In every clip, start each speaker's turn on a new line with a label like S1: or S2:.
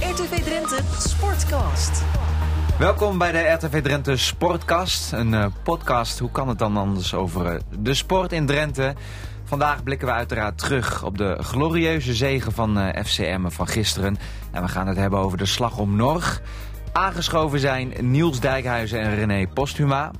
S1: RTV Drenthe Sportcast.
S2: Welkom bij de RTV Drenthe Sportcast. Een eh, podcast, hoe kan het dan anders, over eh, de sport in Drenthe. Vandaag blikken we uiteraard terug op de glorieuze zegen van eh FCM van gisteren. En we gaan het hebben over de slag om Norg. Aangeschoven zijn Niels Dijkhuizen en René Posthuma.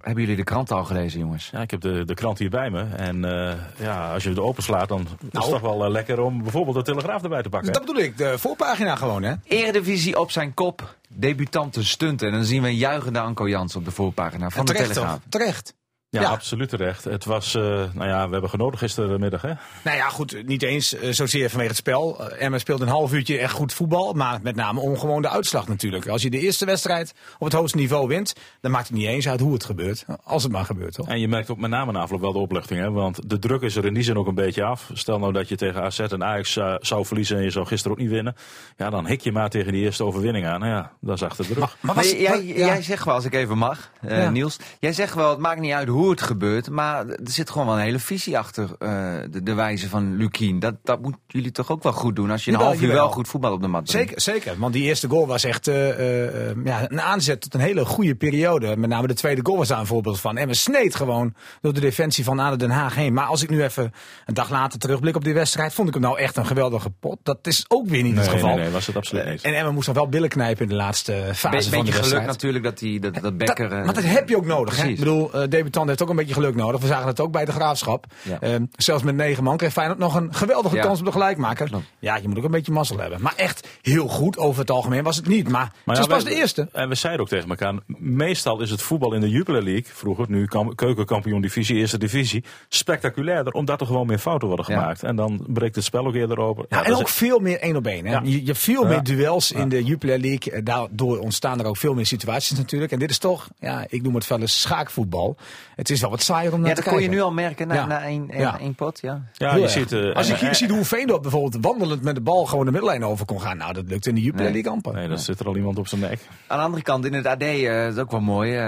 S2: Hebben jullie de krant al gelezen, jongens?
S3: Ja, ik heb de, de krant hier bij me. En eh, ja, als je het openslaat, dan is het toch wel eh, lekker om bijvoorbeeld de Telegraaf erbij te pakken.
S4: Nou. Dus Dat bedoel ik, de voorpagina gewoon, hè?
S2: Eredivisie op zijn kop, debutanten stunten. En dan zien we een juichende Anko Jans op de voorpagina van de
S4: terecht,
S2: Telegraaf.
S4: toch? Terecht.
S3: ja,
S4: ja.
S3: absoluut terecht. Het was, eh, nou ja, we hebben genoten gistermiddag, hè?
S4: Nou ja, goed, niet eens eh, zozeer vanwege het spel. Eh, Emmen speelt een half uurtje echt goed voetbal, maar met name om gewoon de uitslag natuurlijk. Als je de eerste wedstrijd op het hoogste niveau wint, dan maakt het niet eens uit hoe het gebeurt. Als het maar gebeurt, toch?
S3: En je merkt ook met name na afloop wel de opluchting, hè? Want de druk is er in die zin ook een beetje af. Stel nou dat je tegen AZ en Ajax eh, zou verliezen en je zou gisteren ook niet winnen. Ja, dan hik je maar tegen die eerste overwinning aan. Nou ja, dat is achter de rug.
S4: Maar
S2: Maar
S4: was-
S2: jij,
S4: maar-
S2: jij-
S4: ja.
S2: jij zegt wel, als ik even mag, eh,
S4: Ja.
S2: Niels. Jij zegt wel, het maakt niet uit hoe het gebeurt. Maar er zit gewoon wel een hele visie achter eh, de, de wijze van Lukien. Dat, dat moeten jullie toch ook wel goed doen. Als je een
S4: Jawel,
S2: half uur wel
S4: jawel.
S2: goed voetbal op de mat brengt.
S4: Zeker, zeker, want die eerste goal was echt eh, eh, eh, ja, een aanzet tot een hele goede periode. Met name de tweede goal was daar een voorbeeld van. Emmen sneed gewoon door de defensie van Aden Den Haag heen. Maar als ik nu even een dag later terugblik op die wedstrijd, vond ik hem nou echt een geweldige pot. Dat is ook weer niet het
S3: Nee,
S4: geval.
S3: nee, nee, was het absoluut niet.
S4: En Emma moest nog wel billen knijpen in de laatste fase
S2: Be-
S4: van de
S2: beetje geluk
S4: wedstrijd.
S2: natuurlijk dat, die, dat, dat
S4: Dat-
S2: Becker... eh,
S4: maar dat heb je ook nodig. Hè? Ik
S2: Precies.
S4: bedoel, eh, debutant heeft ook een beetje geluk nodig. We zagen het ook bij de graafschap.
S2: Ja.
S4: Ehm, zelfs met negen man kreeg Feyenoord nog een geweldige
S2: Ja.
S4: kans op de gelijkmaker.
S2: Klopt.
S4: Ja, je moet ook een beetje mazzel hebben. Maar echt heel goed over het algemeen was het niet. Maar,
S3: Maar
S4: het
S3: ja,
S4: was pas
S3: we-
S4: de eerste.
S3: En we zeiden ook tegen elkaar, meestal is het voetbal in de Jupiler League, vroeger, nu kam- keukenkampioen divisie, eerste divisie, spectaculairder, omdat er gewoon meer fouten worden
S2: Ja.
S3: gemaakt. En dan breekt het spel ook eerder open. Ja,
S4: Ja, en
S3: dat
S4: ook
S3: is-
S4: veel meer één op één. hè.
S3: Ja.
S4: Je, je hebt veel
S3: Ja.
S4: meer duels in de Jupiler League. Eh, Daardoor ontstaan er ook veel meer situaties natuurlijk. En dit is toch, ja, ik noem het wel eens schaakvoetbal. Het is wel wat saaier om naar
S2: Ja,
S4: te
S2: dat
S4: kijken.
S2: kon je nu al merken na,
S4: Ja.
S2: na één, één,
S4: Ja.
S2: één pot. Ja.
S3: ja,
S4: Heel
S3: je
S4: erg.
S3: ziet, eh,
S4: Als
S3: en-
S4: ik hier
S3: en-
S4: zie hoe Veendorp bijvoorbeeld wandelend met de bal gewoon de middellijn over kon gaan. Nou, dat lukt in de Jupiler
S2: Nee.
S4: League amper.
S3: Nee, dan zit er al iemand op zijn nek.
S2: Aan de andere kant, in het AD, eh, dat is ook wel mooi. eh,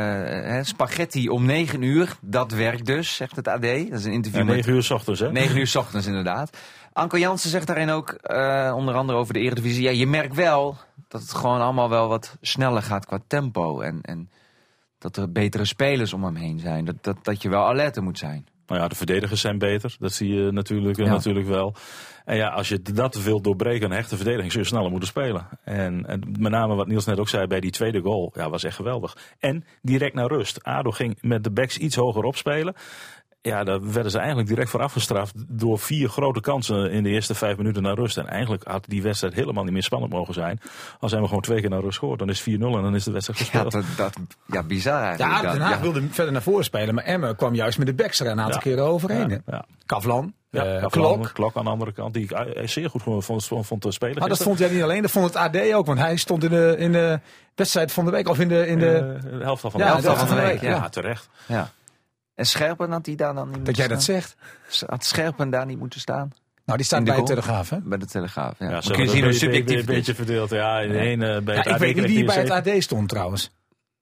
S2: hè, spaghetti om 9 uur, dat werkt dus, zegt het AD. Dat is een interview
S3: Ja,
S2: met
S3: 9 uur s ochtends, hè?
S2: 9 uur 's ochtends inderdaad. Anko Jansen zegt daarin ook, eh, onder andere over de Eredivisie... Ja, je merkt wel dat het gewoon allemaal wel wat sneller gaat qua tempo. En, en dat er betere spelers om hem heen zijn. Dat, dat, dat je wel alert moet zijn.
S3: Nou ja, de verdedigers zijn beter. Dat zie je natuurlijk, eh,
S2: Ja.
S3: natuurlijk wel. En ja, als je dat wilt doorbreken, een hechte verdediging, zul je sneller moeten spelen. En, en met name wat Niels net ook zei bij die tweede goal, ja, was echt geweldig. En direct naar rust. Ado ging met de backs iets hoger opspelen. Ja, daar werden ze eigenlijk direct voor afgestraft door vier grote kansen in de eerste vijf minuten naar rust. En eigenlijk had die wedstrijd helemaal niet meer spannend mogen zijn. Als hebben we gewoon twee keer naar rust scoort, dan is 4-0 en dan is de wedstrijd
S2: Ja,
S3: gespeeld.
S2: dat, dat, ja bizar
S4: Ja,
S2: eigenlijk.
S4: Den
S2: Dat-
S4: Haag
S2: ja.
S4: wilde verder naar voren spelen. Maar Emmen kwam juist met de backs er een aantal
S3: Ja.
S4: keren overheen. hè.
S3: Ja, ja.
S4: Kavlan,
S3: Ja,
S4: eh,
S3: Kavlan,
S4: Klok.
S3: Klok aan de andere kant, die ik eh, zeer goed vond, vond, vond te spelen.
S4: Maar dat
S3: gisteren.
S4: vond jij niet alleen, dat vond het AD ook. Want hij stond in de, in de wedstrijd van de week. Of in de... In de
S3: Eh, de helft al van
S4: Ja,
S3: de
S2: de helft van de week,
S3: Ja,
S2: ja.
S3: terecht.
S2: Ja. En Scherpen had hij daar dan niet
S4: dat jij dat zegt.
S2: Had Scherpen daar niet moeten staan?
S4: Nou, die
S2: In
S4: staat
S2: de
S4: bij de
S2: goal.
S4: Telegraaf, hè?
S2: Bij de Telegraaf, ja.
S3: Ja,
S2: Dan
S3: zo
S2: kun je zien hoe
S3: een,
S2: subjectief het
S3: beetje
S2: is.
S3: verdeeld. Ja, in de ene bij
S4: Ja,
S3: het
S4: ik weet niet
S3: AD
S4: wie bij
S3: kreeg
S4: het AD stond trouwens.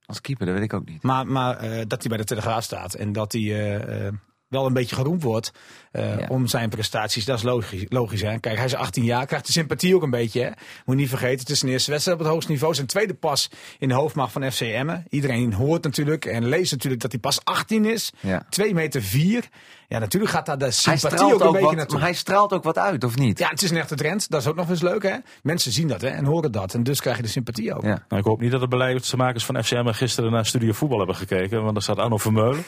S2: Als keeper, dat weet ik ook niet.
S4: Maar, maar eh, dat hij bij de Telegraaf staat en dat hij eh, eh, wel een beetje geroemd wordt eh,
S2: Ja.
S4: om zijn prestaties, dat is logisch. logisch hè? Kijk, hij is 18 jaar, krijgt de sympathie ook een beetje. Hè? Moet je niet vergeten, het is zijn eerste wedstrijd op het hoogste niveau. Zijn tweede pas in de hoofdmacht van FC Emmen. Iedereen hoort natuurlijk en leest natuurlijk dat hij pas 18 is.
S2: Ja.
S4: 2 meter 4. Ja, natuurlijk gaat daar de
S2: Hij
S4: sympathie ook
S2: straalt
S4: een
S2: ook,
S4: beetje
S2: wat,
S4: naartoe.
S2: maar hij straalt ook wat uit, of niet?
S4: Ja, het is een echte trend. Dat is ook nog eens leuk, hè? Mensen zien dat hè, en horen dat. En dus krijg je de sympathie ook.
S2: Ja.
S3: Nou, ik hoop niet dat de beleidsmakers van FCM gisteren naar Studio Voetbal hebben gekeken. Want daar staat Arno Vermeulen.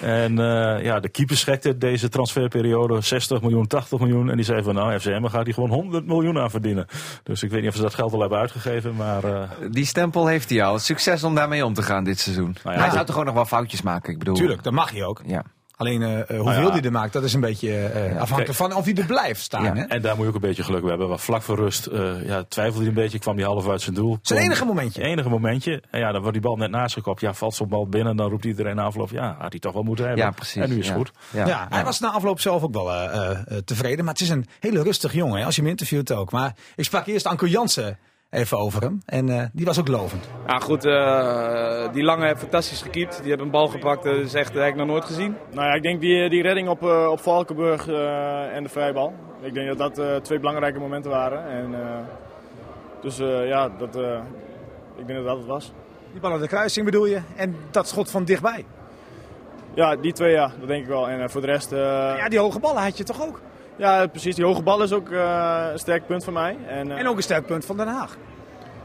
S3: en eh, ja, de keeper schekte deze transferperiode 60 miljoen, 80 miljoen. En die zei van nou, FCM gaat hier gewoon 100 miljoen aan verdienen. Dus ik weet niet of ze dat geld al hebben uitgegeven. Maar eh,
S2: Die stempel heeft hij al. Succes om daarmee om te gaan dit seizoen.
S3: Nou ja,
S2: hij
S3: dat-
S2: zou toch gewoon nog wel foutjes maken, ik bedoel.
S4: Tuurlijk, dat mag je ook.
S2: Ja.
S4: Alleen eh, eh, hoeveel
S3: ja.
S4: die er maakt, dat is een beetje eh, afhankelijk van of hij er blijft staan.
S2: Ja.
S4: Hè?
S3: en daar moet je ook een beetje geluk mee hebben. Want vlak voor rust eh, ja, twijfelde hij een beetje. Kwam hij half uit zijn doel.
S4: Zijn
S3: Kon-
S4: enige momentje.
S3: Het enige momentje. En ja, dan wordt die bal net naast gekopt. Ja, valt zo'n bal binnen. Dan roept iedereen na afloop. Ja, had hij toch wel moeten hebben.
S2: ja, precies.
S3: En nu is het
S2: ja.
S3: goed.
S2: Ja.
S4: Ja, hij was na afloop zelf ook wel eh, eh, eh, tevreden. Maar het is een hele rustig jongen, hè, als je hem interviewt ook. Maar ik sprak eerst Anko Jansen even over hem. En eh, die was ook lovend.
S5: Ja, goed, eh, die lange heeft fantastisch gekiept. Die hebben een bal gepakt, eh, dat is echt dat heb ik nog nooit gezien.
S6: Nou ja, ik denk die, die redding op, eh, op Valkenburg eh, en de vrijbal. Ik denk dat dat eh, twee belangrijke momenten waren. En, eh, Dus eh, ja, dat, eh, ik denk dat dat het was.
S4: Die bal aan de kruising bedoel je? En dat schot van dichtbij.
S6: Ja, die twee ja, dat denk ik wel. En eh, voor de rest... eh,
S4: Ja, die hoge ballen had je toch ook?
S6: Ja, precies. Die hoge bal is ook eh, een sterk punt van mij. En, eh,
S4: En ook een sterk punt van Den Haag.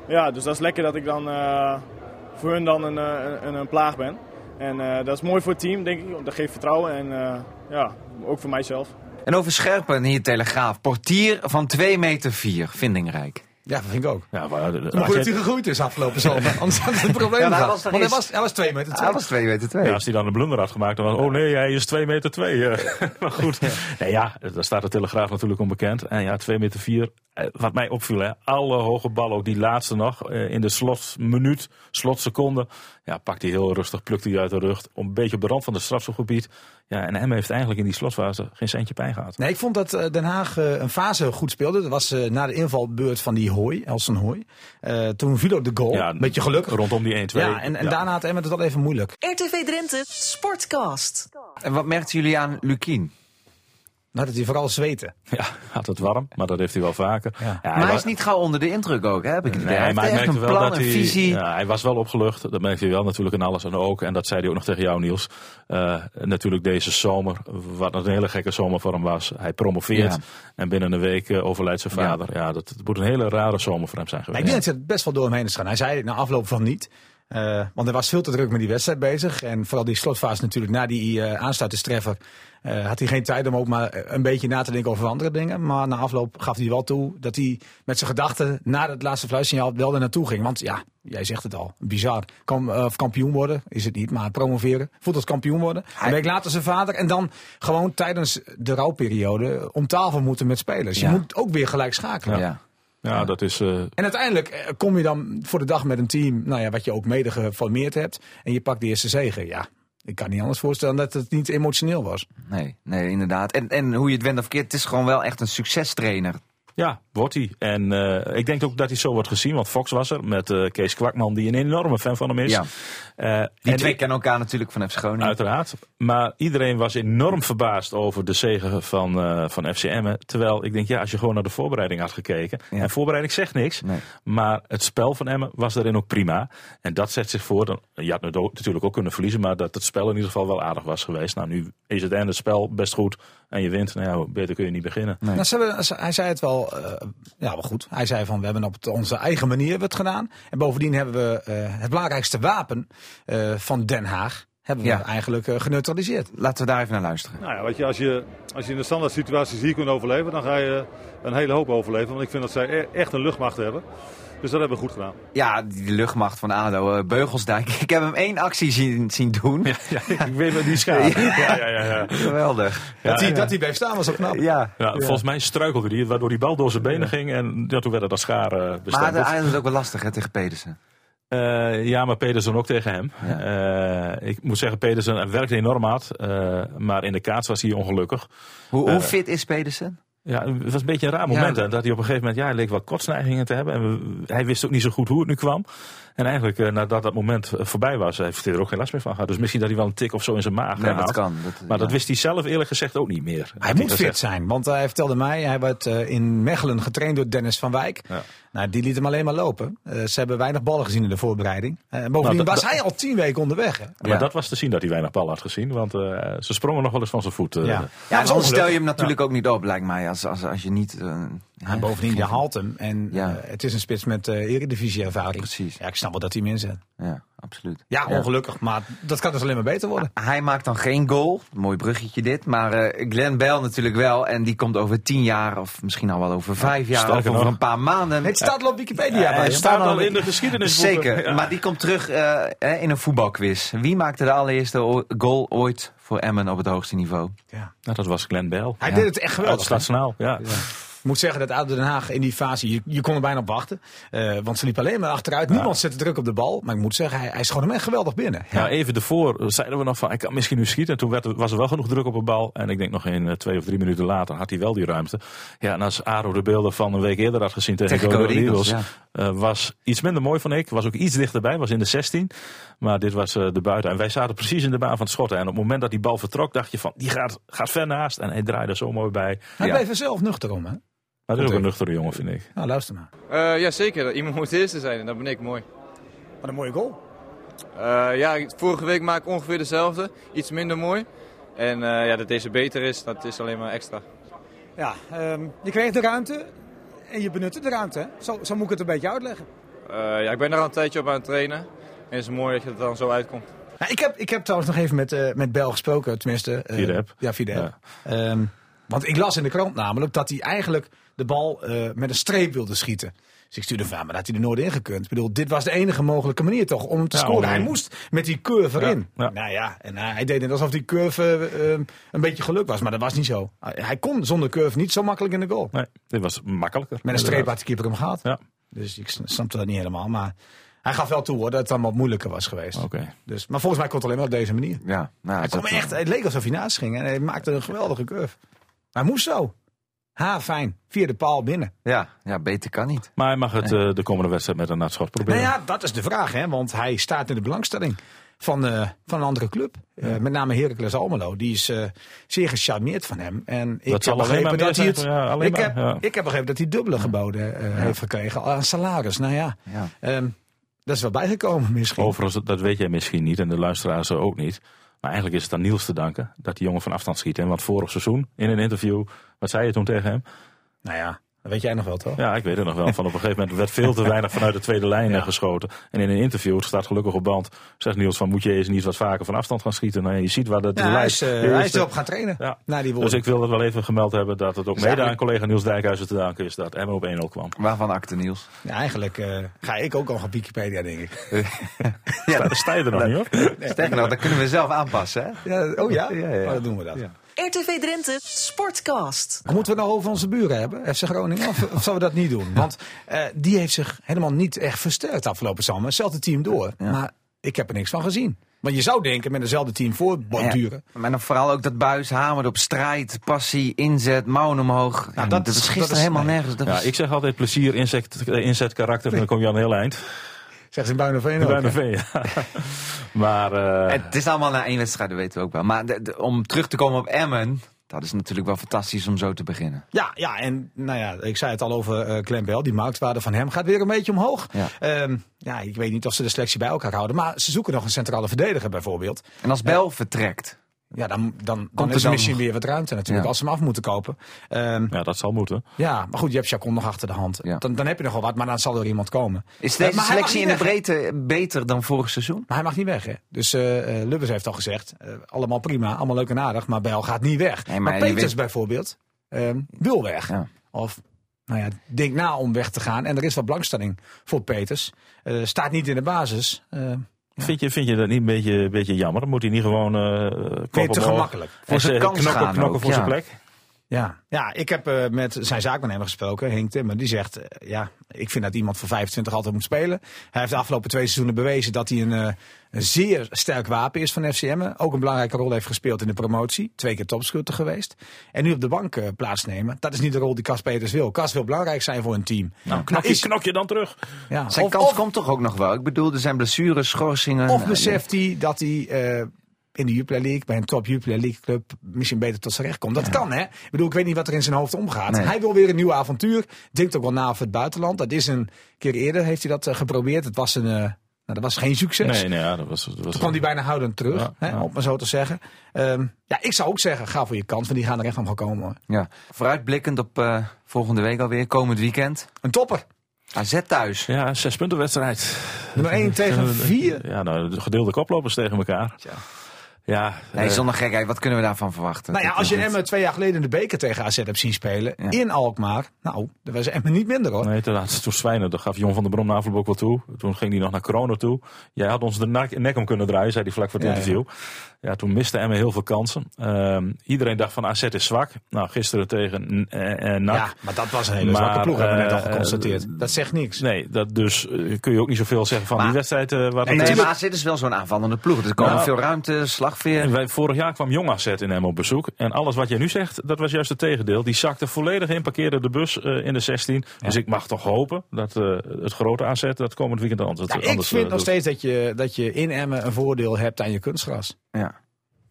S6: Ja, dus dat is lekker dat ik dan eh, voor hun dan een, eh, een, een plaag ben. En eh, dat is mooi voor het team, denk ik. want Dat geeft vertrouwen en eh, ja, ook voor mijzelf.
S2: En over Scherpen hier Telegraaf. Portier van 2 meter 4, vindingrijk.
S4: Ja, dat vind ik ook.
S3: Ja, maar, eh,
S4: Maar
S3: als,
S4: goed dat
S3: jij-
S4: hij gegroeid is afgelopen zomer. nou, Anders had het een probleem
S2: Ja, maar hij was
S4: gehad.
S2: er
S4: Want hij
S2: eerst.
S4: was, hij was twee meter
S2: Hij
S4: twee.
S2: was 2 meter 2.
S3: ja, als hij dan een blunder had gemaakt, dan was oh nee, hij is 2 meter 2. maar goed, nee, ja, daar staat de Telegraaf natuurlijk onbekend. En ja, 2 meter 4, wat mij opviel, hè, alle hoge ballen, ook die laatste nog, eh, in de slotminuut, slotseconde. Ja, pakt hij heel rustig, plukt hij uit de rug, een beetje op de rand van het strafschopgebied. Ja, en hem heeft eigenlijk in die slotfase geen centje pijn gehad.
S4: Nee, ik vond dat eh, Den Haag eh, een fase goed speelde. Dat was eh, na de invalbeurt van die Hooi, Elson Hooi. Eh, toen viel ook de goal.
S3: Ja,
S4: Een beetje geluk.
S3: Rondom die 1-2.
S4: Ja, en, en daarna had Emmet het wel even moeilijk.
S1: RTV Drenthe Sportcast.
S2: En wat merkten jullie aan Lukien?
S4: Nou, dat hij vooral zweten.
S3: Ja, had het warm, maar dat heeft hij wel vaker.
S4: Ja.
S3: Ja,
S2: maar hij
S3: wa-
S2: is niet gauw onder de indruk ook, hè? heb ik het idee.
S3: Nee,
S2: Hij heeft
S3: maar hij
S2: echt
S3: merkte
S2: een
S3: wel
S2: plan,
S3: dat
S2: een
S3: hij,
S2: visie.
S3: ja, hij was wel opgelucht. Dat merkte je wel natuurlijk in alles en ook. En dat zei hij ook nog tegen jou, Niels. Eh, natuurlijk deze zomer, wat een hele gekke zomer voor hem was. Hij promoveert
S2: Ja.
S3: en binnen een week eh, overlijdt zijn
S2: Ja.
S3: vader. Ja, dat, het moet een hele rare zomer voor hem zijn
S4: Maar
S3: geweest.
S4: ik denk dat het best wel door hem heen is gaan. Hij zei na afloop van niet. Eh, want hij was veel te druk met die wedstrijd bezig. En vooral die slotfase natuurlijk, na die eh aansluiterstreffer, eh, had hij geen tijd om ook maar een beetje na te denken over andere dingen. Maar na afloop gaf hij wel toe dat hij met zijn gedachten na het laatste fluitsignaal wel er naartoe ging. Want ja, jij zegt het al, bizar. Kam, eh, of kampioen worden is het niet, maar promoveren. Voelt als kampioen worden. Een week later zijn vader. En dan gewoon tijdens de rouwperiode om tafel moeten met spelers.
S2: Ja.
S4: Je moet ook weer gelijk schakelen.
S2: Ja.
S3: Ja, dat is... eh,
S4: En uiteindelijk eh, kom je dan voor de dag met een team, nou ja, wat je ook mede geformeerd hebt. En je pakt de eerste zege. Ja, ik kan niet anders voorstellen dat het niet emotioneel was.
S2: Nee, nee, inderdaad. En, en hoe je het wendt of keert, het is gewoon wel echt een succestrainer.
S3: Ja, wordt hij. En eh, ik denk ook dat hij zo wordt gezien, want Fox was er met eh, Kees Kwakman, die een enorme fan van hem is.
S2: Ja.
S3: Eh,
S2: Die
S3: en
S2: twee
S3: ik-
S2: kennen elkaar natuurlijk van FC Groningen.
S3: Uiteraard. Maar iedereen was enorm verbaasd over de zegen van, eh, van FCM. Terwijl ik denk, ja, als je gewoon naar de voorbereiding had gekeken.
S2: Ja.
S3: En voorbereiding zegt niks.
S2: Nee.
S3: Maar het spel van Emmen was daarin ook prima. En dat zet zich voor. Dan, je had het ook- natuurlijk ook kunnen verliezen. Maar dat het spel in ieder geval wel aardig was geweest. Nou, nu is het en het spel best goed. En je wint. Nou, ja, beter kun je niet beginnen.
S2: Nee.
S4: Nou, ze hebben- ze- hij zei het wel, eh, ja, wel goed. Hij zei van, we hebben op het- onze eigen manier hebben we het gedaan. En bovendien hebben we eh, het belangrijkste wapen eh, van Den Haag, hebben we
S2: Ja.
S4: eigenlijk eh, geneutraliseerd.
S2: Laten we daar even naar luisteren.
S7: Nou ja, weet je, als, je, als je in de standaard situaties hier kunt overleven, dan ga je een hele hoop overleven. Want ik vind dat zij e- echt een luchtmacht hebben. Dus dat hebben we goed gedaan.
S2: Ja, die luchtmacht van ADO, eh, Beugelsdijk. Ik heb hem één actie zien, zien doen.
S3: Ja, ik weet wel die schaar. Ja, ja, ja. ja.
S2: Geweldig.
S4: dat, hij,
S3: ja.
S4: dat hij bleef staan was ook knap.
S2: Ja.
S3: Ja, Volgens mij struikelde hij, waardoor die bal door zijn benen ging. En ja, toen werd het als schaar eh,
S2: Maar
S3: bestempeld.
S2: ADO is ook wel lastig hè, tegen Pedersen.
S3: Eh, ja, maar Pedersen ook tegen hem. Eh, ik moet zeggen, Pedersen werkte enorm hard. eh, maar in de kaats was hij ongelukkig.
S2: Hoe, hoe
S3: Eh.
S2: fit is Pedersen?
S3: Ja, het was een beetje een raar
S2: Ja.
S3: moment. hè, dat hij op een gegeven moment ja, hij leek wat kotsneigingen te hebben. En we- hij wist ook niet zo goed hoe het nu kwam. En eigenlijk, eh, nadat dat moment eh, voorbij was, heeft hij er ook geen last meer van gehad. Dus misschien dat hij wel een tik of zo in zijn maag
S2: Nee, dat
S3: had.
S2: kan.
S3: Maar dat
S2: ja.
S3: wist hij zelf eerlijk gezegd ook niet meer.
S4: Hij moet fit zijn, want hij vertelde mij, hij werd eh, in Mechelen getraind door Dennis van Wijk.
S3: Ja.
S4: Nou, die liet hem alleen maar lopen. Eh, ze hebben weinig ballen gezien in de voorbereiding. Eh, en bovendien
S3: Nou, dat-
S4: was hij al tien weken onderweg. Hè?
S3: Maar
S2: Ja.
S3: dat was te zien dat hij weinig bal had gezien. Want eh, ze sprongen nog wel eens van zijn voet. eh.
S4: Ja.
S2: Ja,
S4: dat is
S2: dan
S4: ongelukkig.
S2: stel je hem natuurlijk ook niet op, lijkt mij. Als, als, als je niet... eh, hè,
S4: En bovendien, je
S2: geen-
S4: haalt hem. En
S2: Ja.
S4: eh, het is een spits met eh eredivisie-ervaring.
S2: Precies.
S4: Ja, ik snap wel dat hij hem inzet.
S2: Ja, absoluut.
S4: Ja, ongelukkig. Maar dat kan dus alleen maar beter worden.
S2: Hij maakt dan geen goal. Mooi bruggetje dit. Maar eh, Glenn Bell natuurlijk wel. En die komt over tien jaar, of misschien al wel over vijf jaar, of
S3: sterker
S2: over
S3: nog.
S2: een paar maanden.
S4: Het staat al op Wikipedia.
S3: Ja,
S4: bij
S3: hij
S4: hem.
S3: staat al
S2: Staan
S3: in de geschiedenis.
S2: Zeker, maar die komt terug eh, hè, in een voetbalquiz. Wie maakte de allereerste o- goal ooit voor Emmen op het hoogste niveau?
S4: Ja.
S3: Nou, dat was Glenn Bell.
S4: Hij
S2: Ja.
S4: deed het echt
S3: Uit
S4: geweldig.
S3: Stadsnaal, ja.
S4: Ik moet zeggen dat ADO Den Haag in die fase, je, je kon er bijna op wachten. Eh, want ze liepen alleen maar achteruit. Niemand zette druk op de bal. Maar ik moet zeggen, hij, hij schoot hem echt geweldig binnen.
S3: Ja. even ervoor zeiden we nog van, ik kan misschien nu schieten. En toen werd, er- was er wel genoeg druk op een bal. En ik denk nog geen eh, twee of drie minuten later had hij wel die ruimte. Ja, en als Aro de beelden van een week eerder had gezien tegen,
S2: Tegen
S3: Go
S2: Go
S3: Eagles,
S2: Eagles,
S3: eh, was iets minder mooi van ik. Was ook iets dichterbij, was in de 16. Maar dit was eh, de buiten. En wij zaten precies in de baan van het schotten. En op het moment dat die bal vertrok, dacht je van, die gaat, gaat ver naast. En hij draaide zo mooi bij.
S4: Hij
S2: Ja.
S4: bleef er zelf nuchter om. Hè?
S3: Maar dat is ook een nuchtere jongen, vind ik.
S4: Nou, luister maar.
S8: Eh, ja, zeker. Iemand moet de eerste zijn en dat ben ik. Mooi.
S4: Wat een mooie goal.
S8: Eh, ja, vorige week maak ik ongeveer dezelfde. Iets minder mooi. En eh, ja, dat deze beter is, dat is alleen maar extra.
S4: Ja, ehm, je kreeg de ruimte en je benutte de ruimte. hè? Zo, zo moet ik het een beetje uitleggen.
S8: Eh, ja, ik ben daar al een tijdje op aan het trainen. En het is mooi dat je er dan zo uitkomt.
S4: Nou, ik, heb, ik heb trouwens nog even met, eh, met Bel gesproken, tenminste. eh,
S3: Via de app.
S4: Ja, via de app. Ehm, want ik las in de krant namelijk dat hij eigenlijk de bal eh, met een streep wilde schieten. Dus ik stuurde van, ja, maar dat hij er nooit in gekund. Ik bedoel, dit was de enige mogelijke manier toch om hem te
S3: Ja,
S4: scoren.
S3: om-
S4: Hij moest met die curve in.
S3: ja.
S4: Nou ja, en hij, hij deed net alsof die curve ehm, een beetje geluk was, maar dat was niet zo. Hij- Hij kon zonder curve niet zo makkelijk in de goal.
S3: Nee, dit was makkelijker.
S4: Met een streep had de keeper hem gehad.
S3: Ja,
S4: Dus ik sn- snapte dat niet helemaal, maar hij gaf wel toe hoor, dat het dan wat moeilijker was geweest.
S3: oké.
S4: Dus, maar volgens mij kon het alleen maar op deze manier.
S2: Ja, nou,
S4: Hij
S2: dat-
S4: kwam echt,
S3: eh,
S4: het leek alsof hij naast ging en hij maakte een geweldige curve. Hij moest zo. Ha, fijn. Via de paal binnen.
S2: ja, ja, beter kan niet.
S3: Maar hij mag het eh, de komende wedstrijd met een nachtschot
S4: Nou
S3: proberen.
S4: ja, dat is de vraag, hè? want hij staat in de belangstelling van, eh, van een andere club. Eh, met name Heracles Almelo. Die is eh, zeer gecharmeerd van hem. En ik
S3: zal
S4: heb
S3: alleen
S4: begrepen
S3: maar meer
S4: dat hij het.
S3: zijn, ja, alleen
S4: ik,
S3: maar,
S4: heb,
S3: ja.
S4: ik heb begrepen dat hij dubbele geboden eh, heeft gekregen aan salaris. Nou ja,
S2: Ja.
S4: ehm, dat is wel bijgekomen misschien.
S3: Overigens, dat weet jij misschien niet en de luisteraars ook niet. Maar eigenlijk is het aan Niels te danken dat die jongen van afstand schiet. Hè? Want vorig seizoen, in een interview, wat zei je toen tegen hem?
S4: Nou ja, dat weet jij nog wel toch?
S3: Ja, ik weet het nog wel. Van op een gegeven moment werd veel te weinig vanuit de tweede lijn eh, geschoten. En in een interview, het staat gelukkig op band, zegt Niels van moet je eens niet wat vaker van afstand gaan schieten. Nou, ja, je ziet waar dat
S4: Ja, hij,
S3: leidt.
S4: is, eh,
S3: De
S4: hij is
S3: eerste-
S4: erop gaan trainen.
S3: Ja.
S4: Na die woorden.
S3: Dus ik wil dat wel even gemeld hebben dat het ook
S4: Dus
S3: mede aan
S4: eigenlijk-
S3: collega Niels Dijkhuizen te danken is dat Emmen op 1-0 kwam.
S2: Waarvan acte Niels?
S4: Ja, eigenlijk eh, ga ik ook al op Wikipedia, denk ik.
S3: Ja, daar sta je er nog niet op.
S2: Sterker nog, dat kunnen we zelf aanpassen. Hè?
S4: Ja, oh ja?
S2: Ja, ja.
S4: Oh, dan doen we dat.
S1: RTV Drenthe Sportcast.
S4: Maar Moeten we het nou over onze buren hebben, FC Groningen? Of, of zullen we dat niet doen? Want eh, die heeft zich helemaal niet echt versterkt afgelopen zomer. Hetzelfde team door. Maar ik heb er niks van gezien. Want je zou denken met hetzelfde team voortborduren.
S2: Ja, maar dan vooral ook dat buis hamert op strijd, passie, inzet, mouwen omhoog. Ja,
S4: Nou, dat
S2: dat,
S4: is-
S2: is
S4: dat
S2: gisteren
S4: is-
S2: helemaal
S4: nee.
S2: nergens. Dat
S3: Ja,
S2: was-
S3: ik zeg altijd plezier, inzet, eh, inzet karakter. En dan kom je aan een heel eind.
S4: Zegt ze in Buinerveen ook.
S3: Bij
S4: hè?
S3: de V, ja. Maar eh,
S2: Het is allemaal na één wedstrijd, dat weten we ook wel. Maar de- de- om terug te komen op Emmen, dat is natuurlijk wel fantastisch om zo te beginnen.
S4: Ja, ja, en nou ja, ik zei het al over eh Clem Bell. Die marktwaarde van hem gaat weer een beetje omhoog.
S2: Ja.
S4: Ehm, ja, ik weet niet of ze de selectie bij elkaar houden. Maar ze zoeken nog een centrale verdediger bijvoorbeeld.
S2: En als Bel vertrekt,
S4: Ja, dan, dan, dan
S2: Komt er
S4: is er
S2: dan-
S4: misschien weer wat ruimte natuurlijk.
S2: Ja.
S4: Als ze hem af moeten kopen. Ehm,
S3: ja, dat zal moeten.
S4: ja, maar goed, je hebt Chacon nog achter de hand.
S2: Ja.
S4: Dan, dan heb je nog wel wat, maar dan zal er iemand komen.
S2: is
S4: Eh,
S2: deze
S4: maar hij mag
S2: selectie in
S4: niet
S2: de breedte beter dan vorig seizoen?
S4: Maar hij mag niet weg, hè? Dus eh eh, Lubbers heeft al gezegd, eh, allemaal prima, allemaal leuk en aardig, maar Bijl gaat niet weg.
S2: Nee,
S4: maar
S2: maar je
S4: Peters
S2: weet-
S4: bijvoorbeeld eh, wil weg.
S2: Ja.
S4: Of, nou ja, denk na om weg te gaan. En er is wat belangstelling voor Peters. Eh, staat niet in de basis. eh,
S3: Vind, je, vind je dat niet een beetje, een beetje jammer? Dan moet hij niet gewoon eh
S4: vind
S3: kop
S4: je te
S3: omhoog
S4: gemakkelijk.
S3: en
S2: Voor zijn
S3: zeggen,
S2: kans
S3: knokken,
S2: gaan
S3: knokken
S2: ook,
S3: voor zijn
S2: ja.
S3: plek?
S4: Ja, ja ik heb eh, met zijn zaakwaarnemer gesproken, Henk Timmer. Die zegt, eh, ja, ik vind dat iemand van 25 altijd moet spelen. Hij heeft de afgelopen twee seizoenen bewezen dat hij een, eh, een zeer sterk wapen is van FCM. Ook een belangrijke rol heeft gespeeld in de promotie. Twee keer topschutter geweest. En nu op de bank eh, plaatsnemen. Dat is niet de rol die Kas Peters wil. Kas wil belangrijk zijn voor een team.
S3: Nou, knok je,
S4: is-
S3: knok je dan terug.
S4: Ja,
S2: Zijn
S4: of,
S2: kans
S4: of,
S2: komt toch ook nog wel? Ik bedoel, er zijn blessures, schorsingen.
S4: of
S2: eh,
S4: beseft hij dat hij... eh, in de Jupiler League, bij een top Jupiler League club, misschien beter tot zijn recht komt. Dat kan, hè? Ik bedoel, ik weet niet wat er in zijn hoofd omgaat.
S2: Nee.
S4: Hij wil weer een nieuw avontuur. Denkt ook wel na over het buitenland. Dat is een keer eerder, heeft hij dat eh, geprobeerd. Het was een, eh, nou, dat was geen succes.
S3: Nee, nee, ja, dat was... Dat was
S4: Toen kwam hij bijna houdend terug,
S3: Ja,
S4: hè,
S3: ja.
S4: om maar zo te zeggen. Ehm, ja, ik zou ook zeggen, ga voor je kans, want die gaan er echt om gaan komen. Hoor.
S2: Ja. Vooruitblikkend op eh, volgende week alweer, komend weekend.
S4: Een topper.
S2: AZ thuis.
S3: Ja, zes punten wedstrijd.
S4: Nummer 1 tegen 4.
S3: Ja, nou, de gedeelde koplopers tegen elkaar. Ja, eh,
S2: Nee, zonder gekheid, wat kunnen we daarvan verwachten?
S4: Nou ja,
S2: Dat
S4: als
S2: is
S4: je
S2: het.
S4: Emmen twee jaar geleden in de beker tegen AZ hebt zien spelen,
S2: Ja.
S4: in Alkmaar. Nou, dat was Emmen niet minder hoor.
S3: Nee, toen, had- toen Zwijnen, daar gaf Jon van der Brom na afloop ook wel toe. Toen ging hij nog naar Corona toe. Jij had ons de nak- nek om kunnen draaien, zei hij vlak voor het
S4: Ja,
S3: interview. Ja. toen miste Emmen heel veel kansen. Ehm, iedereen dacht van AZ is zwak. Nou, gisteren tegen eh eh, NAC.
S4: Ja, maar dat was een hele
S3: Maar,
S4: zwakke ploeg, hebben we net al
S3: eh,
S4: geconstateerd. dat zegt niks.
S3: Nee, dat dus eh, kun je ook niet zoveel zeggen van
S2: Maar-
S3: die wedstrijd. eh waar
S2: Nee,
S3: het-
S2: maar AZ is wel zo'n aanvallende ploeg. Er komen
S3: Nou.
S2: veel ruimte, slagveer.
S3: En wij, vorig jaar kwam Jong AZ in hem op bezoek. En alles wat jij nu zegt, dat was juist het tegendeel. Die zakte volledig in, parkeerde de bus eh, in de 16. Dus ik mag toch hopen dat eh, het grote AZ dat komend weekend anders,
S4: Ja, ik
S3: anders eh,
S4: vind nog
S3: doet.
S4: steeds dat je, dat je in Emmen een voordeel hebt aan je kunstgras.
S2: Ja.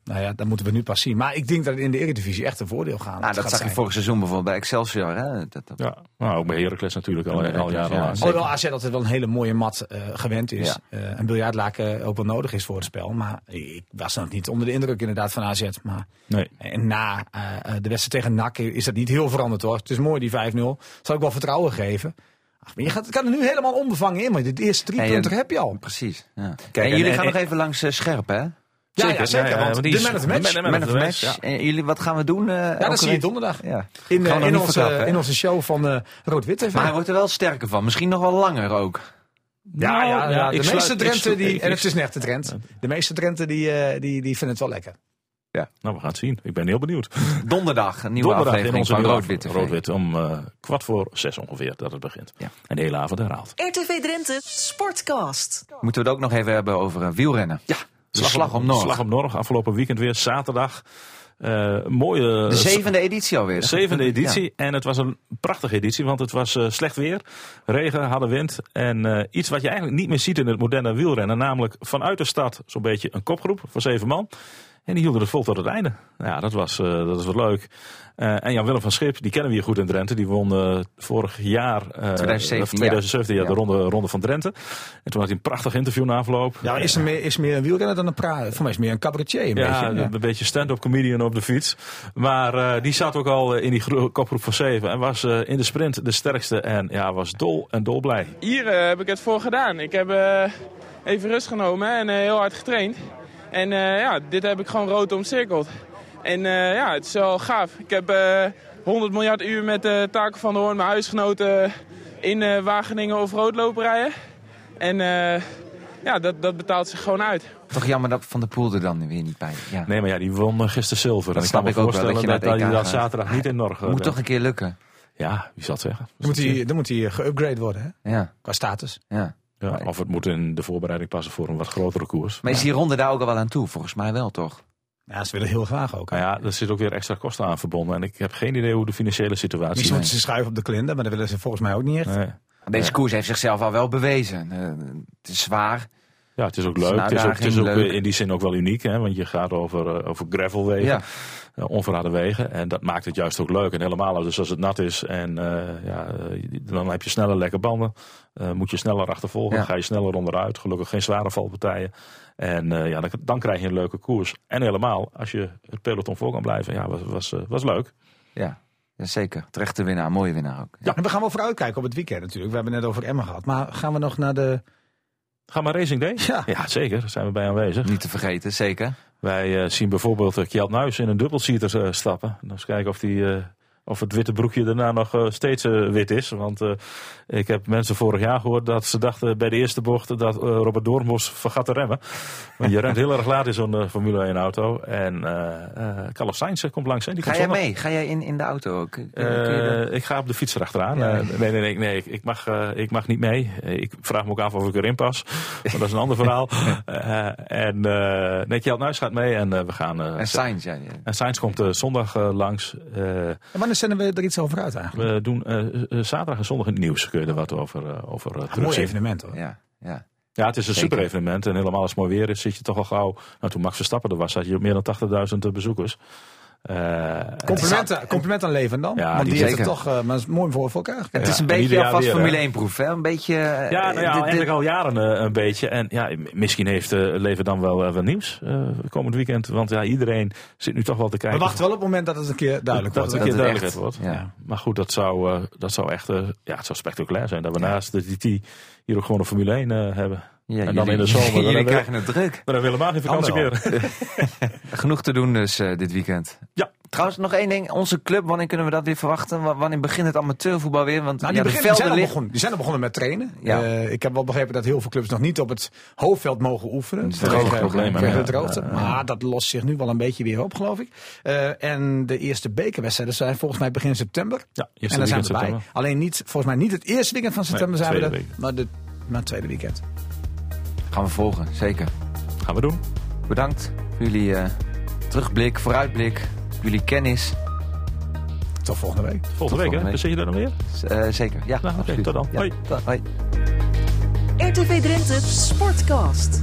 S4: Nou ja, dat moeten we nu pas zien. Maar ik denk dat het in de Eredivisie echt een voordeel gaat.
S2: Nou, dat zag
S4: gaat
S2: je
S4: zijn.
S2: vorig seizoen bijvoorbeeld bij Excelsior. Hè? Dat, dat-
S3: Ja, nou, ook bij Heracles natuurlijk al,
S2: Ja,
S3: al jarenlang.
S2: ja.
S4: Alhoewel AZ altijd wel een hele mooie mat eh, gewend is.
S2: Ja.
S4: Eh, een biljartlaken ook wel nodig is voor het spel. Maar ik was nog niet onder de indruk inderdaad van AZ. Maar
S3: Nee.
S4: en na eh, eh, de wedstrijd tegen NAC is dat niet heel veranderd hoor. Het is mooi die 5-0. Zal ik wel vertrouwen geven. Ach, maar je gaat, kan er nu helemaal onbevangen in. Maar de eerste drie
S2: Nee,
S4: punten
S2: en-
S4: heb je al.
S2: Precies. Ja.
S3: en-
S2: en jullie
S3: en-
S2: gaan nog
S3: en-
S2: even langs eh, Scherp, hè?
S4: Ja,
S3: Zeker,
S4: ja, zeker.
S3: ja, ja,
S4: want
S3: want die
S4: de
S3: is-
S4: man of the match.
S3: man-
S4: Ja,
S3: man
S2: Man
S3: of
S2: of
S3: the
S2: match.
S3: match,
S2: En jullie, wat gaan we doen? eh, elke
S4: dat zie je
S2: week?
S4: donderdag.
S2: Ja.
S4: In,
S2: Gaan we
S4: eh,
S2: nog
S4: in,
S2: niet
S4: onze,
S2: verklappen, hè?
S4: in onze show van eh, Rood-Wit TV.
S2: Maar hij wordt er wel sterker van. Misschien nog wel langer ook.
S4: ja, ja, ja,
S3: Nou, ja,
S4: de
S3: ik
S4: meeste
S3: sluit- ik
S4: Drenthe,
S3: sluit-
S4: die,
S3: ik-
S4: en
S3: ik-
S4: het is een echte Drent, de meeste Drenthe die, eh, die, die vinden het wel lekker.
S3: Nou, we gaan het zien. Ik ben heel benieuwd.
S2: Donderdag, een nieuwe
S3: Donderdag in
S2: aflevering
S3: onze
S2: van
S3: nieuwe
S2: Rood-Wit.
S3: af-
S2: TV.
S3: Rood-Wit om eh, kwart voor zes ongeveer dat het begint.
S2: Ja.
S3: En de hele avond herhaald.
S1: RTV Drenthe Sportcast.
S2: Moeten we het ook nog even hebben over eh, wielrennen? Ja. De slag, om
S3: Norg.
S2: Noord.
S3: Slag om Norg, afgelopen weekend weer, zaterdag. Eh, mooie...
S2: De zevende editie alweer.
S3: De
S2: hè?
S3: zevende
S2: Ja.
S3: editie. En het was een prachtige editie, want het was eh, slecht weer. Regen, harde wind. En eh, iets wat je eigenlijk niet meer ziet in het moderne wielrennen. Namelijk vanuit de stad zo'n beetje een kopgroep van zeven man. En die hielden het vol tot het einde. Ja, dat was, eh, dat is wat leuk. Eh, en Jan-Willem van Schip, die kennen we hier goed in Drenthe. Die won eh, vorig jaar, eh,
S2: 2017,
S3: of 2017 ja,
S2: ja.
S3: de ronde, ronde van Drenthe. En toen had hij een prachtig interview na afloop.
S4: Ja, maar Nou, is, er meer, is meer een wielrenner dan een praat. Voor mij is meer een cabaretier een
S3: Ja,
S4: beetje.
S3: een beetje stand-up comedian op de fiets. Maar eh, die zat ook al eh, in die gro- kopgroep van 7 en was eh, in de sprint de sterkste. En ja, was dol en dolblij.
S9: Hier eh, heb ik het voor gedaan. Ik heb eh, even rust genomen en eh, heel hard getraind. En eh, ja, dit heb ik gewoon rood omcirkeld. En eh, ja, het is wel gaaf. Ik heb eh 100 miljard uur met eh Taken van de Hoorn, mijn huisgenoten, in eh, Wageningen of rood lopen rijden. En eh, ja, dat, dat betaalt zich gewoon uit.
S2: Toch jammer dat Van der Poel er dan weer niet bij. Ja.
S3: Nee, maar ja, die won eh, gisteren zilver.
S2: Dat
S3: en ik
S2: snap
S3: kan me
S2: ik ook wel,
S3: voorstellen
S2: dat je
S3: dat,
S2: naar het
S3: hij
S2: EK
S3: dat
S2: gaat.
S3: zaterdag niet in Norge. eh,
S2: Moet toch een keer lukken.
S3: Ja, wie zal het zeggen?
S4: Dan moet hij- Dan moet hij eh, geüpgrade worden hè?
S2: Ja,
S4: qua status.
S2: ja.
S3: Ja, of het moet in de voorbereiding passen voor een wat grotere koers.
S2: Maar is die ronde daar ook al wel aan toe? Volgens mij wel, toch?
S4: Ja, ze willen heel graag ook.
S3: Nou ja, er zit ook weer extra kosten aan verbonden. En ik heb geen idee hoe de financiële situatie
S4: Misschien moeten ze schuiven op de kalender, maar dat willen ze volgens mij ook niet echt.
S3: Nee.
S2: Deze koers heeft zichzelf al wel bewezen. Eh, het is zwaar.
S3: Ja, het is ook
S2: is
S3: leuk.
S2: een
S3: Het is ook, het is ook
S2: uitdaging, leuk.
S3: eh, in die zin ook wel uniek. Hè? Want je gaat over, eh, over gravelwegen.
S2: Ja.
S3: eh, onverharde wegen. En dat maakt het juist ook leuk. En helemaal als- dus als het nat is en eh, ja, eh, dan heb je sneller lekke banden. Eh, moet je sneller achtervolgen,
S2: Ja.
S3: ga je sneller onderuit. Gelukkig geen zware valpartijen. En eh, ja, dan, dan krijg je een leuke koers. En helemaal als je het peloton voor kan blijven. Ja, was, was, eh, was leuk.
S2: Ja, ja zeker. Terechte winnaar, mooie winnaar ook.
S4: En we gaan wel vooruitkijken op het weekend natuurlijk. We hebben het net over Emmen gehad. Maar gaan we nog naar de...
S3: Ga maar Racing Day.
S4: Ja.
S3: zeker. Daar zijn we bij aanwezig.
S2: Niet te vergeten, zeker.
S3: Wij eh, zien bijvoorbeeld eh, Kjeld Nuis in een dubbelseater eh, stappen. Dan eens kijken of, die, eh, of het witte broekje daarna nog eh, steeds eh, wit is. Want eh, ik heb mensen vorig jaar gehoord dat ze dachten bij de eerste bocht dat eh, Robert Doornbos vergat te remmen. Want je rent heel erg laat in zo'n eh, Formule 1 auto. En eh eh Carlos Sainz eh, komt langs. Hè? Die
S2: Ga
S3: komt
S2: jij
S3: zondag.
S2: mee? Ga jij in, in de auto ook? Kun- kun
S3: Eh,
S2: je dat-
S3: ik ga op de fiets erachteraan.
S2: Ja.
S3: Eh, nee, nee, nee, nee ik, ik mag, eh, ik mag niet mee. Eh, Ik vraag me ook af of ik erin pas. Maar dat is een ander verhaal. Eh, en eh nee, Kjeld Nuis gaat mee en eh, we gaan... eh,
S2: en Sainz, ja. ja.
S3: en Sainz komt eh, zondag eh, langs. Eh,
S4: En wanneer zenden we er iets over uit eigenlijk?
S3: we doen eh, eh, zaterdag en zondag in het nieuws. Kun je er wat over, eh, over eh,
S4: Een mooi
S3: terugzien.
S4: evenement hoor.
S2: ja, ja.
S3: ja, het is een super evenement. En helemaal als het mooi weer is, zit je toch al gauw. Nou, toen Max Verstappen er was, had je op meer dan 80.000 bezoekers. Eh,
S4: Complimenten, compliment aan Leven dan.
S3: Ja,
S4: Want
S3: die
S4: die heeft het
S2: zeker.
S4: toch eh, maar het is mooi voor, voor elkaar gekregen.
S2: Het is een
S3: en
S2: beetje
S3: ieder jaar
S2: alvast
S3: weer, hè?
S2: Formule 1 proef, hè? Een beetje... eh,
S3: Ja, nou ja,
S2: dit- dit-
S3: eigenlijk al jaren eh, een beetje. En ja, m- misschien heeft eh Leven dan wel eh, wat nieuws eh, komend weekend. Want ja, iedereen zit nu toch wel te
S4: We
S3: kijken.
S4: wachten wel op het moment dat het een keer duidelijk
S3: dat het
S4: wordt. hè?
S3: een keer
S2: Dat het
S3: duidelijkheid wordt.
S2: echt,
S3: Ja. Maar goed, dat zou, eh, dat zou echt eh, ja, het zou spectaculair zijn. Dat we naast de DT hier ook gewoon een Formule 1 eh, hebben.
S2: Ja,
S3: en dan
S2: jullie-
S3: in de zomer. Dan
S2: Jullie
S3: hebben we-
S2: krijgen het druk.
S3: Maar dan hebben we helemaal geen vakantie
S4: Anderhalf.
S3: meer.
S2: Genoeg te doen dus eh, dit weekend.
S3: Ja.
S2: Trouwens, nog één ding. Onze club, wanneer kunnen we dat weer verwachten? Wa- Wanneer begint het amateurvoetbal weer? Want
S4: Nou,
S2: ja,
S4: die,
S2: de velden
S4: beginnen- die zijn al
S2: liggen...
S4: begonnen, die zijn al begonnen met trainen.
S2: Ja.
S4: Eh, ik heb wel begrepen dat heel veel clubs nog niet op het hoofdveld mogen oefenen. eh,
S2: is een groot
S4: Vanwege-
S3: probleem,
S4: vanwege
S3: ja.
S4: de droogte. Maar dat lost zich nu wel een beetje weer op, geloof ik. Eh, en de eerste bekerwedstrijden zijn volgens mij begin september.
S3: Ja,
S4: en
S3: eerste
S4: daar zijn
S3: weekend
S4: we bij.
S3: september.
S4: Alleen niet, volgens mij niet het eerste weekend van september
S3: Nee,
S4: zijn we er.
S3: tweede weekend.
S4: Maar, de, maar het tweede weekend.
S2: Gaan we volgen, zeker.
S3: Gaan we doen.
S2: Bedankt voor jullie eh, terugblik, vooruitblik, jullie kennis.
S4: Tot volgende week.
S3: Volgende week,
S2: volgende
S3: hè?
S2: week.
S3: Zit je daar dan weer?
S2: Z- eh, zeker, ja.
S3: Nou, oké,
S2: absoluut.
S3: tot dan.
S2: Ja,
S3: Hoi.
S2: tot- hoi.
S1: RTV Drenthe Sportcast.